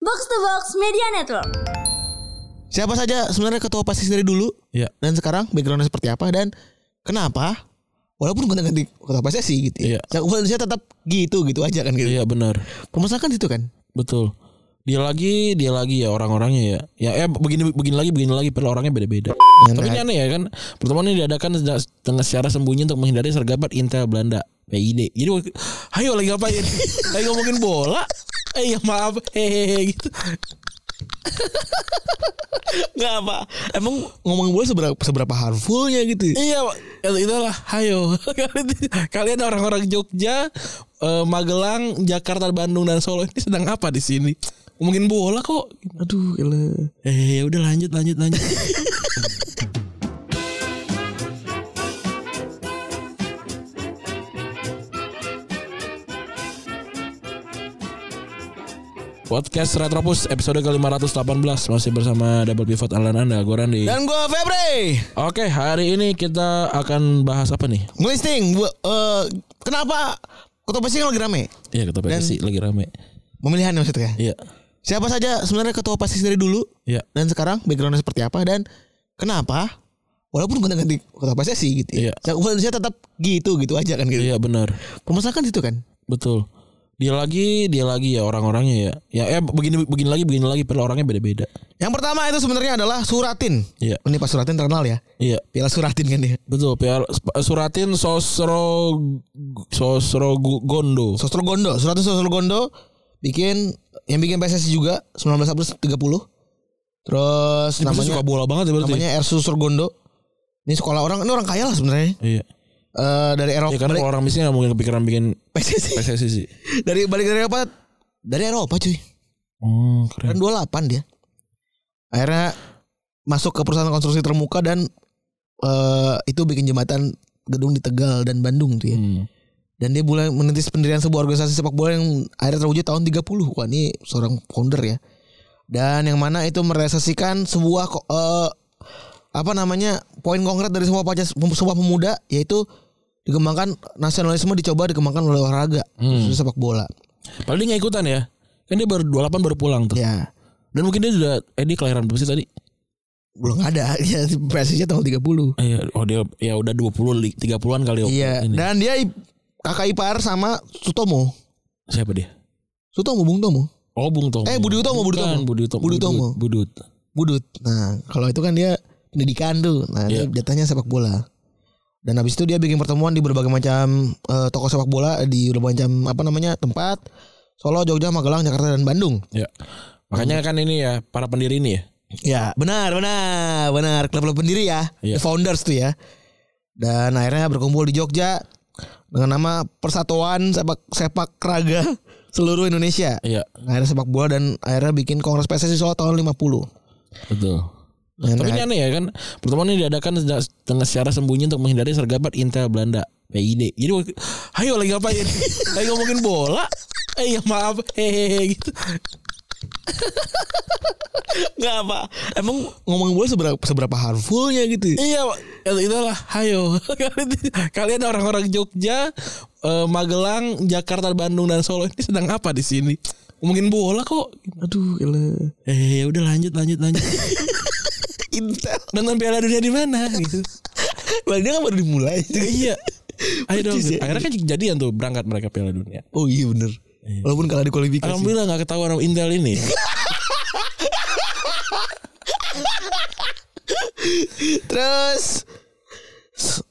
Box to Box Media Network. Siapa saja sebenarnya ketua pasis dari dulu Iya. dan sekarang backgroundnya seperti apa dan kenapa walaupun gonta ganti ketua PSSI gitu ya. Iya. Yang Indonesia tetap gitu gitu aja kan gitu. Iya benar. Permasalahan kan itu kan. Betul. Dia lagi, dia lagi ya orang-orangnya ya. Ya eh begini begini lagi, begini lagi padahal orangnya beda-beda. Tapi ini aneh ya kan. Pertemuan ini diadakan seda- dengan secara sembunyi untuk menghindari sergapat Intel Belanda. PID. Jadi wak- ayo lagi ngapain? lagi ngomongin bola. Eh ya maaf. Hehehe gitu. Enggak apa. Emang ngomongin bola seberapa seberapa harmfulnya gitu. Iya, Pak. itu itulah. Hayo, kalian orang-orang Jogja, eh, Magelang, Jakarta, Bandung dan Solo ini sedang apa di sini? Ngomongin bola kok. Aduh, elah. Eh, ya udah lanjut, lanjut, lanjut. Podcast Retropus episode ke-518 masih bersama Double Pivot Alan Anda gue Randy. Dan gue Febri Oke, hari ini kita akan bahas apa nih? ngelisting gua, eh, kenapa ketua PSSI lagi rame? Iya ketua PSSI lagi rame. Pemilihan maksudnya. Iya. Siapa saja sebenarnya ketua PSSI dari dulu Iya. dan sekarang backgroundnya seperti apa dan kenapa walaupun gonta ganti ketua PSSI gitu ya. Iya. Yang Indonesia tetap gitu gitu aja kan gitu. Iya benar. Permasalahan kan itu kan. Betul. Dia lagi, dia lagi ya orang-orangnya ya. Ya eh begini begini lagi, begini lagi padahal orangnya beda-beda. Yang pertama itu sebenarnya adalah Suratin. Iya. Ini Pak Suratin terkenal ya. Iya. Piala Suratin kan dia. Betul. Piala eh, Suratin Sosro Sosro Gondo. Sosrogondo, Suratin Sosrogondo bikin yang bikin PSSI juga 19 April 30. Terus Dia pasti namanya suka bola banget ya berarti. namanya Ersus Surgondo. Ini sekolah orang, ini orang kaya lah sebenarnya. Iya. Eh dari Eropa, Ya karena balik- kalau orang miskin nggak mungkin kepikiran bikin PSSI. PSSI sih. dari balik dari Eropa, dari Eropa cuy. Hmm, Kan 28 keren. dia. Akhirnya masuk ke perusahaan konstruksi termuka dan eh itu bikin jembatan gedung di Tegal dan Bandung tuh ya. Hmm. Dan dia mulai menentis pendirian sebuah organisasi sepak bola yang akhirnya terwujud tahun 30. Wah, ini seorang founder ya. Dan yang mana itu merealisasikan sebuah ko- eh, apa namanya? poin konkret dari semua pancas semua pemuda yaitu dikembangkan nasionalisme dicoba dikembangkan oleh olahraga khususnya sepak bola. Padahal dia nggak ikutan ya. Kan dia baru 28 baru pulang tuh. Ya, Dan mungkin dia sudah eh dia kelahiran berapa sih tadi? belum ada. Ya, PSSI tahun 30. Eh, Iya, oh dia ya udah 20 li- 30-an kali waktu Iya, ini. dan dia i- kakak ipar sama Sutomo. Siapa dia? Sutomo Bung Tomo, Oh Bung Tomo. Eh, Budi Utomo, Budi Bukan, Utomo. Budi Utomo. Budi Utomo. Budut. Budut. Nah, kalau itu kan dia pendidikan tuh. Nah, dia Iya. jatahnya sepak bola. Dan habis itu dia bikin pertemuan di berbagai macam eh, toko sepak bola di berbagai macam apa namanya tempat Solo, Jogja, Magelang, Jakarta dan Bandung. Ya. Makanya kan ini ya para pendiri ini ya. Ya, benar, benar, benar. Klub-klub pendiri ya, The Iya. founders tuh ya. Dan akhirnya berkumpul di Jogja dengan nama Persatuan Sepak Sepak Raga Seluruh Indonesia. Iya, Akhirnya sepak bola dan akhirnya bikin Kongres PSSI Solo tahun 50. betul. Dan Tapi ini aneh ya kan Pertemuan ini diadakan seda- dengan secara sembunyi Untuk menghindari sergapat Intel Belanda PID Jadi wak- Ayo lagi ngapain Lagi ngomongin bola Eh ya maaf Hehehe gitu Gak apa. Emang ngomongin bola seberapa seberapa harmfulnya gitu. Iya Pak. Ya, Itulah Hayo Kalian orang-orang Jogja eh, Magelang Jakarta Bandung dan Solo Ini sedang apa di sini Ngomongin bola kok Aduh, elah. Eh ya udah lanjut lanjut lanjut. Intel. Nonton Piala Dunia di mana gitu. Lah dia kan baru dimulai. iya. Ayo dong. Percis ya. Akhirnya kan jadian tuh berangkat mereka Piala Dunia. Oh iya bener. Walaupun kalah di kualifikasi. Alhamdulillah nggak ketahuan sama Intel ini. Terus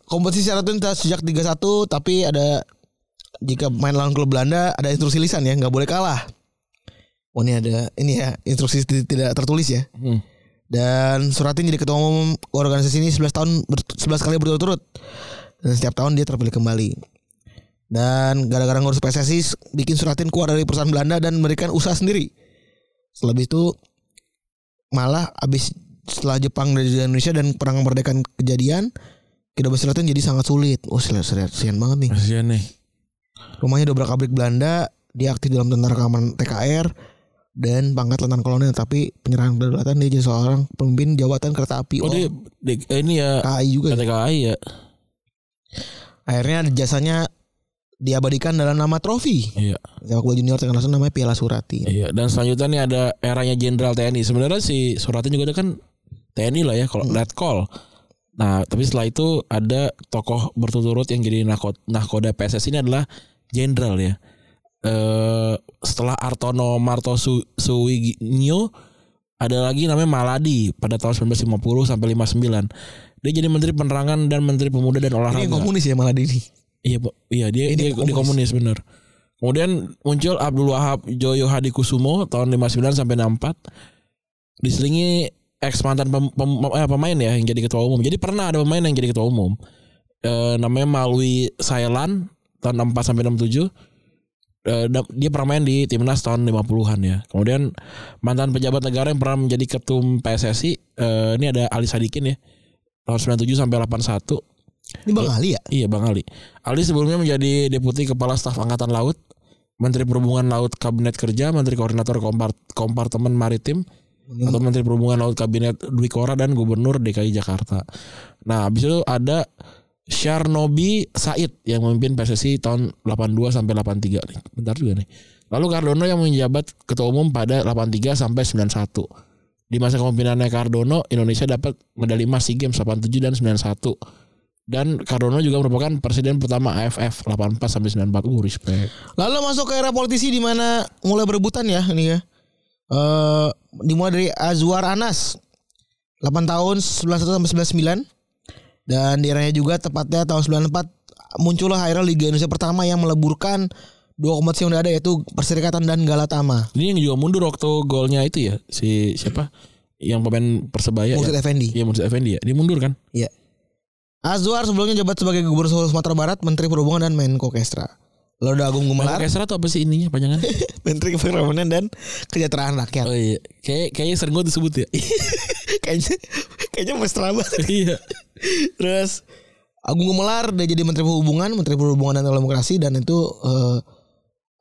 kompetisi syarat tuntas sejak 31 tapi ada jika main lawan klub Belanda ada instruksi lisan ya nggak boleh kalah. Oh ini ada ini ya instruksi ti- tidak tertulis ya. Hmm. Dan Suratin jadi ketua umum organisasi ini 11 tahun ber- 11 kali berturut-turut. Dan setiap tahun dia terpilih kembali. Dan gara-gara ngurus PSSI bikin Suratin keluar dari perusahaan Belanda dan memberikan usaha sendiri. Setelah itu malah abis setelah Jepang dari Indonesia dan perang kemerdekaan kejadian Kidoba Suratin jadi sangat sulit. Oh, sian, sian banget nih. Kasihan nih. Rumahnya dobrak-abrik Belanda, dia aktif dalam tentara keamanan TKR dan pangkat letnan kolonel tapi penyerahan kedaulatan dia jadi seorang pemimpin jawatan kereta api. Oh, Oh, dia, dia- eh, ini ya KAI juga. ya. KTKI ya. Akhirnya jasanya diabadikan dalam nama trofi. Iya. Sepak bola junior tingkat nasional namanya Piala Surati. Iya, dan selanjutnya nih ada eranya Jenderal TNI. Sebenarnya si Suratin juga ada kan TNI lah ya kalau Red Call. Nah, tapi setelah itu ada tokoh berturut-turut yang jadi nahko- nahkoda PSS ini adalah Jenderal ya. Eh setelah Artono Marto Su Suwigio ada lagi namanya Maladi pada tahun 1950 sampai 59. Dia jadi Menteri Penerangan dan Menteri Pemuda dan Ini Olahraga. yang komunis ya malah ini. Iya, Pak. iya Ini dia dia, komunis. dia komunis bener. Kemudian muncul Abdul Wahab Joyo Hadi Kusumo tahun 59 sampai 64. Diselingi ex mantan pem- pem- eh, pemain ya yang jadi ketua umum. Jadi pernah ada pemain yang jadi ketua umum. Eh, namanya Malwi Sailan tahun 64 sampai 67. Eh, da- dia pernah main di timnas tahun 50-an ya. Kemudian mantan pejabat negara yang pernah menjadi ketum PSSI eh, ini ada Ali Sadikin ya. Tahun 97 sampai 81. Ini Bang Ali ya? Iya Bang Ali. Ali sebelumnya menjadi Deputi Kepala Staf Angkatan Laut, Menteri Perhubungan Laut Kabinet Kerja, Menteri Koordinator Kompart- Kompartemen Maritim, atau Menteri Perhubungan Laut Kabinet Dwi Kora dan Gubernur DKI Jakarta. Nah, habis itu ada Syarnobi Said yang memimpin PSSI tahun 82 sampai 83 nih. Bentar juga nih. Lalu Cardono yang menjabat ketua umum pada 83 sampai 91. Di masa kepemimpinannya Cardono, Indonesia dapat medali emas SEA Games 87 dan 91. Dan Cardono juga merupakan presiden pertama AFF 84 sampai 94. Uh, respect. Lalu masuk ke era politisi di mana mulai berebutan ya ini ya. Eh dimulai dari Azwar Anas 8 tahun 91 sampai 99 dan di eranya juga tepatnya tahun 94 muncullah akhirnya Liga Indonesia pertama yang meleburkan dua kompetisi yang udah ada yaitu Perserikatan dan Galatama. Ini yang juga mundur waktu golnya itu ya si siapa? Yang pemain Persebaya ya? Mursid Effendi. Iya Mursid Effendi ya. Dia mundur kan? Iya. Azwar sebelumnya jabat sebagai Gubernur Sumatera Barat, Menteri Perhubungan dan Menko Kestra. Lalu ada Agung Gumelar, Kesra tuh apa sih ininya panjangan? Menteri Keperekonomian dan Kesejahteraan Rakyat. oh iya. Kayak kayaknya sering gue disebut ya. kayaknya kayaknya mesra banget. iya. Terus Agung Gumelar dia jadi Menteri Perhubungan, Menteri Perhubungan dan Demokrasi dan itu eh,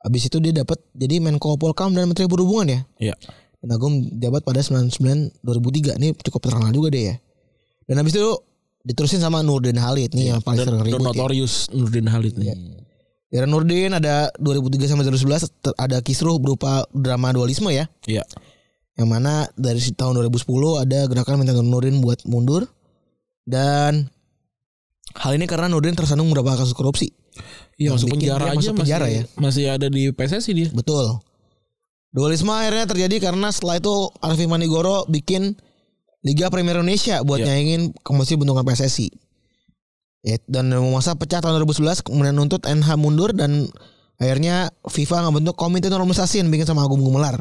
habis itu dia dapat jadi Menko Polkam dan Menteri Perhubungan ya. Iya. Dan Agung jabat pada 99 2003. Ini cukup terkenal juga deh ya. Dan habis itu diterusin sama Nurdin Halid nih yang paling Iya, Dan, sering dan ribut. ya. notorious Nurdin Halid nih. Iya. Era Nurdin ada 2003 sampai 2011 ter- ada kisruh berupa drama dualisme ya. Iya. Yang mana dari si- tahun 2010 ada gerakan minta Nurdin buat mundur. Dan hal ini karena Nurdin tersandung beberapa kasus korupsi. Yang Iya masuk bikin penjara dia aja masuk penjara masih, iya. ya. masih ada di PSSI dia. Betul. Dualisme akhirnya terjadi karena setelah itu Arfi Manigoro bikin Liga Premier Indonesia buat Iya. nyaingin komisi bentukan PSSI. Ya, dan masa pecah tahun 2011 kemudian nuntut NH mundur dan akhirnya FIFA ngebentuk komite normalisasi yang bikin sama Agung Gumelar.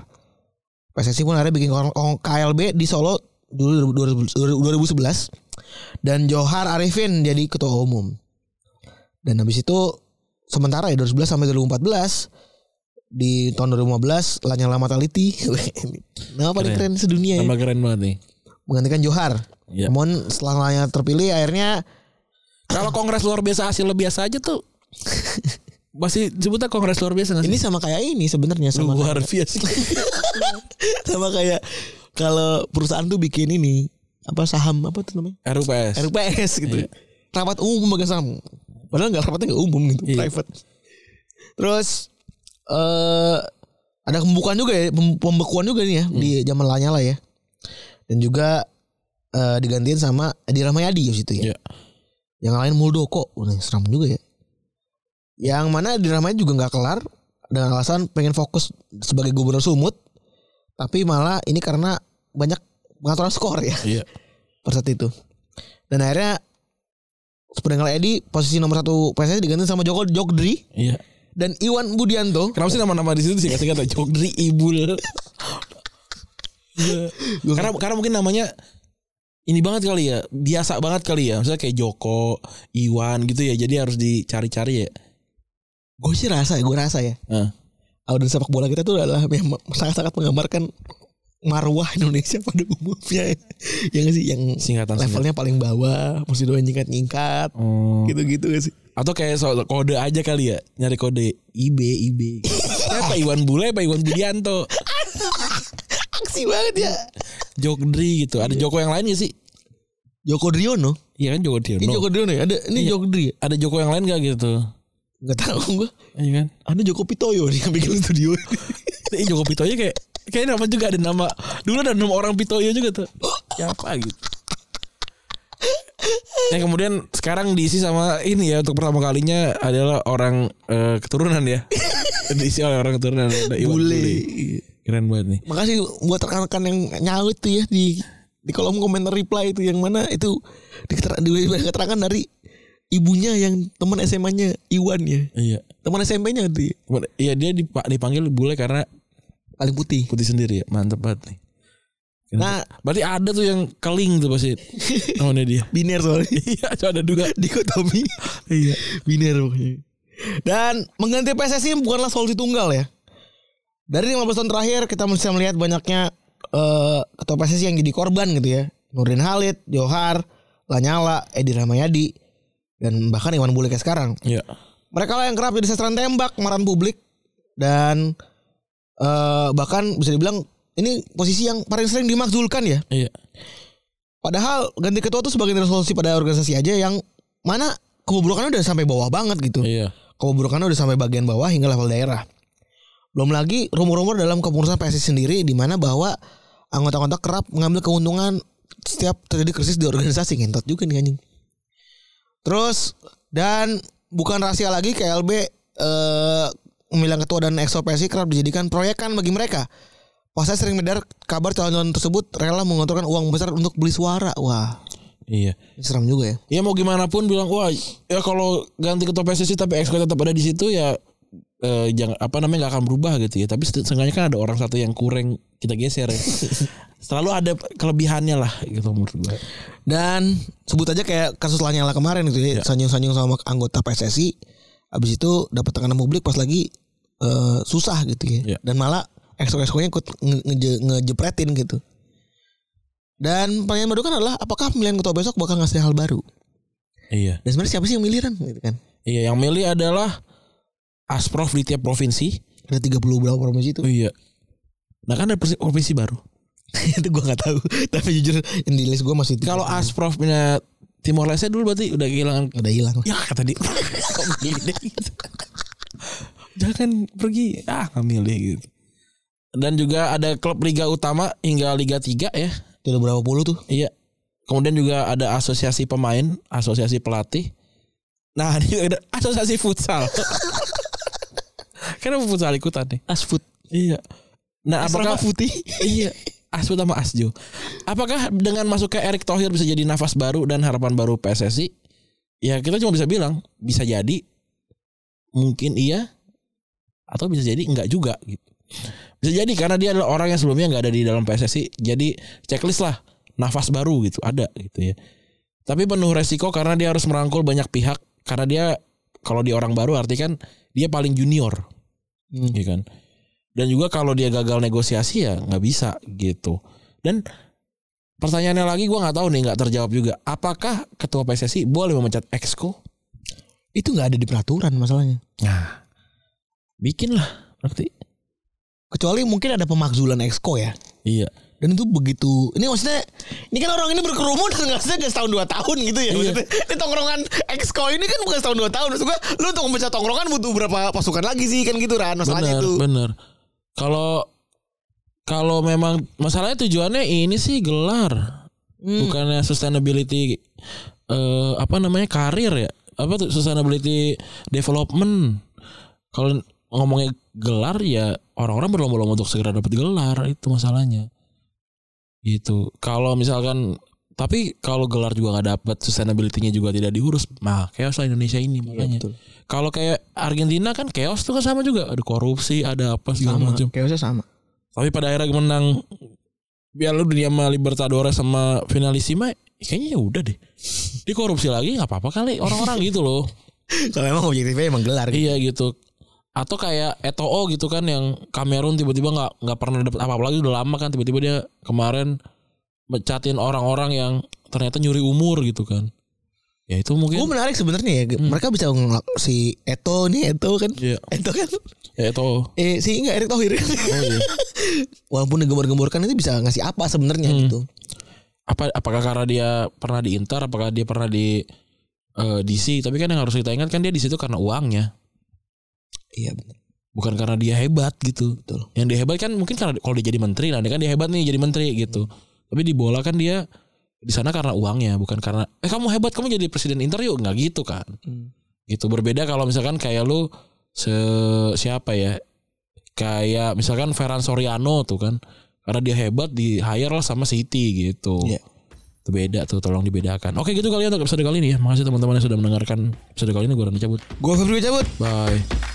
PSSI pun akhirnya bikin kor- kor- KLB di Solo dulu 2011 dan Johar Arifin jadi ketua umum. Dan habis itu sementara ya 2011 sampai 2014 di tahun 2015 Lanyala Mataliti nama paling keren Keren. sedunia ya Nama keren banget nih. menggantikan Johar. Iya. Namun setelah Lanyala terpilih akhirnya Kalau kongres luar biasa hasil biasa aja tuh masih sebutnya kongres luar biasa nggak sih? ini sama kayak ini sebenarnya sama luar biasa. sama kayak kalau perusahaan tuh bikin ini apa saham apa tuh namanya RUPS. RUPS gitu. Iya. Rapat umum pemegang saham. Padahal nggak rapatnya nggak umum gitu, Iya. private. Terus eh ada pembukaan juga ya, pem- pembekuan juga nih ya Hmm. di zaman Lanyala ya. Dan juga eh digantiin sama Edi Rahmayadi di situ ya. Iya. Yang lain Muldoko, Wah, ini seram juga ya. Yang mana Edi Rahmayadi juga nggak kelar dengan alasan pengen fokus sebagai gubernur Sumut, tapi malah ini karena banyak pengaturan skor ya Iya. pada saat itu. Dan akhirnya Pendengar Edi posisi nomor satu PSSI diganti sama Joko Jogdri Iya. dan Iwan Budianto. Kenapa sih nama-nama di situ sih kasih kata Jogdri Ibul? Iya. karena karena mungkin namanya ini banget kali ya, biasa banget kali ya. Misalnya kayak Joko, Iwan gitu ya. Jadi harus dicari-cari ya. Gue sih rasa ya, gue rasa ya. Nah, Audiens sepak bola kita tuh adalah yang sangat-sangat menggambarkan marwah Indonesia pada umumnya. yang sih yang singkatan singkatan. levelnya paling bawah, mesti doain nyingkat-nyingkat, Oh. gitu-gitu gak sih. Atau kayak soal kode aja kali ya, nyari kode IB IB. Siapa Iwan Bule, apa Iwan Budianto, Aksi banget ya. Jogdri gitu. Ada Joko yang lain gak sih? Joko Driono. Iya kan Joko Ini Tirno. Joko Driono ya. Ada ini Iya. Joko Dri. ya? Ada Joko yang lain gak gitu? Gak tahu gue. Iya kan? Anda Joko Pitoyo nih yang bikin studio. Ini Joko Pitoyo kayak kayak nama juga ada nama. Dulu ada nama orang Pitoyo juga tuh. Siapa gitu. Yang kemudian sekarang diisi sama ini ya untuk pertama kalinya adalah orang eh, keturunan ya. diisi oleh orang keturunan ada Iwan Bule. Iya. Keren banget nih. Makasih buat rekan-rekan yang nyaut tuh ya di di kolom komentar reply itu yang mana itu diketer- diberi keterangan dari ibunya yang teman SMA-nya Iwan ya. Iya. Teman SMP-nya itu ya. Cuman, Iya dia dipa- dipanggil bule karena paling putih. putih sendiri ya. Mantep banget nih. Keren. Nah, berarti ada tuh yang keling tuh pasti. Namanya dia. biner soalnya. Iya, tuh ada dua. Dikotomi. iya, biner pokoknya. Dan mengganti PSSI bukanlah solusi tunggal ya. Dari 15 tahun terakhir kita bisa melihat banyaknya eh, ketua PSSI yang jadi korban gitu ya. Nurdin Halid, Johar, Lanyala, Edi Rahmayadi dan bahkan Iwan Bule kayak sekarang. Iya. Mereka lah yang kerap jadi sasaran tembak kemarahan publik dan eh, bahkan bisa dibilang ini posisi yang paling sering dimakzulkan ya. Iya. Padahal ganti ketua itu sebagai resolusi pada organisasi aja yang mana kebobrokannya udah sampai bawah banget gitu. Iya. Kebobrokannya udah sampai bagian bawah hingga level daerah. Belum lagi rumor-rumor dalam kepengurusan PSSI sendiri di mana bahwa anggota-anggota kerap mengambil keuntungan setiap terjadi krisis di organisasi ngentot juga nih anjing. Terus dan bukan rahasia lagi KLB eh pemilihan ketua dan exo PSSI kerap dijadikan proyekan bagi mereka. Pasal sering beredar kabar calon-calon tersebut rela mengotorkan uang besar untuk beli suara. Wah, Iya. ini seram juga ya. Ya mau gimana pun bilang wah ya kalau ganti ketua PSSI tapi exco tetap ada di situ ya eh, jangan apa namanya nggak akan berubah gitu ya. Tapi se- seenggaknya kan ada orang satu yang kurang kita geser ya. Selalu ada kelebihannya lah gitu menurut gue. Dan sebut aja kayak kasus Lanyala kemarin gitu ya, Iya. sanjung-sanjung sama anggota PSSI. Habis itu dapat tekanan publik pas lagi eh, susah gitu ya. Iya. Dan malah exco-exconya ikut nge- ngeje- ngejepretin gitu. Dan pertanyaan baru kan adalah apakah pemilihan ketua besok bakal ngasih hal baru? Iya. Dan sebenarnya siapa sih yang miliran gitu kan? Iya, yang milih adalah asprof di tiap provinsi. Ada 30 berapa provinsi itu? iya. Nah kan ada persi- provinsi baru. itu gua nggak tahu. Tapi jujur yang di list gua masih Iya. Kalau asprof punya Timor Leste dulu berarti udah kehilangan udah hilang. ya kata dia Kok milih gitu? jangan pergi ah nggak milih gitu dan juga ada klub liga utama hingga liga 3 ya Tidak berapa puluh tuh. iya kemudian juga ada asosiasi pemain asosiasi pelatih nah ini juga ada asosiasi futsal karena futsal ikutan nih Asfut. iya nah Apakah apakah putih? iya Asbut sama Asjo Apakah dengan masuknya Erick Thohir bisa jadi nafas baru dan harapan baru PSSI? Ya kita cuma bisa bilang bisa jadi mungkin iya atau bisa jadi enggak juga gitu. Bisa jadi karena dia adalah orang yang sebelumnya enggak ada di dalam PSSI. Jadi checklist lah nafas baru gitu ada gitu ya. Tapi penuh resiko karena dia harus merangkul banyak pihak karena dia kalau dia orang baru arti kan dia paling junior Hmm. ya kan dan juga kalau dia gagal negosiasi ya nggak bisa gitu dan pertanyaannya lagi gua nggak tahu nih nggak terjawab juga apakah ketua PSSI boleh memecat exco Itu nggak ada di peraturan masalahnya. nah bikinlah berarti kecuali mungkin ada pemakzulan exco ya iya dan itu begitu ini maksudnya ini kan orang ini berkerumun dan nggak setahun setahun dua tahun gitu Iya. ya maksudnya ini tongkrongan exco ini kan bukan setahun dua tahun maksud gua lu untuk memecah tongkrongan butuh berapa pasukan lagi sih kan gitu kan masalahnya benar itu benar kalau kalau memang masalahnya tujuannya ini sih gelar Hmm. bukannya sustainability eh, apa namanya karir ya apa tuh sustainability development kalau ngomongnya gelar ya orang-orang berlomba-lomba untuk segera dapat gelar itu masalahnya gitu kalau misalkan tapi kalau gelar juga nggak dapat sustainability-nya juga tidak diurus mah chaos lah Indonesia ini makanya Iya, betul. kalau kayak Argentina kan chaos tuh kan sama juga ada korupsi ada apa segala macam chaosnya sama tapi pada akhirnya menang Piala Dunia sama Libertadores sama Finalissima kayaknya ya udah deh. Dikorupsi lagi nggak apa-apa kali orang-orang gitu loh. kalau emang objektifnya emang gelar gitu. iya gitu. Atau kayak Eto'o gitu kan yang Kamerun tiba-tiba nggak nggak pernah dapat apa-apa lagi udah lama kan tiba-tiba dia kemarin mecatin orang-orang yang ternyata nyuri umur gitu kan. Ya itu Gua mungkin menarik sebenarnya ya Hmm. mereka bisa ngelak si Eto nih Eto kan Iya. Eto kan ya Eto'o. eh si nggak Erick Thohir Oh iya. walaupun digembor-gemborkan itu bisa ngasih apa sebenarnya Hmm. gitu apa apakah karena dia pernah di Inter apakah dia pernah di eh, DC tapi kan yang harus kita ingat kan dia di situ karena uangnya Iya benar. bukan karena dia hebat gitu. Betul. Yang dia hebat kan mungkin karena kalau dia jadi menteri lah, dia kan dia hebat nih jadi menteri gitu. Tapi di bola kan dia di sana karena uangnya, bukan karena eh kamu hebat kamu jadi presiden Inter yuk nggak gitu kan? Gitu berbeda kalau misalkan kayak lu se siapa ya? Kayak misalkan Ferran Soriano tuh kan karena dia hebat di hire lah sama City gitu. Iya. Itu beda tuh tolong dibedakan. Oke gitu kali ya untuk episode kali ini ya. Makasih teman-teman yang sudah mendengarkan episode kali ini gue Rani cabut. Gue Febri cabut. Bye.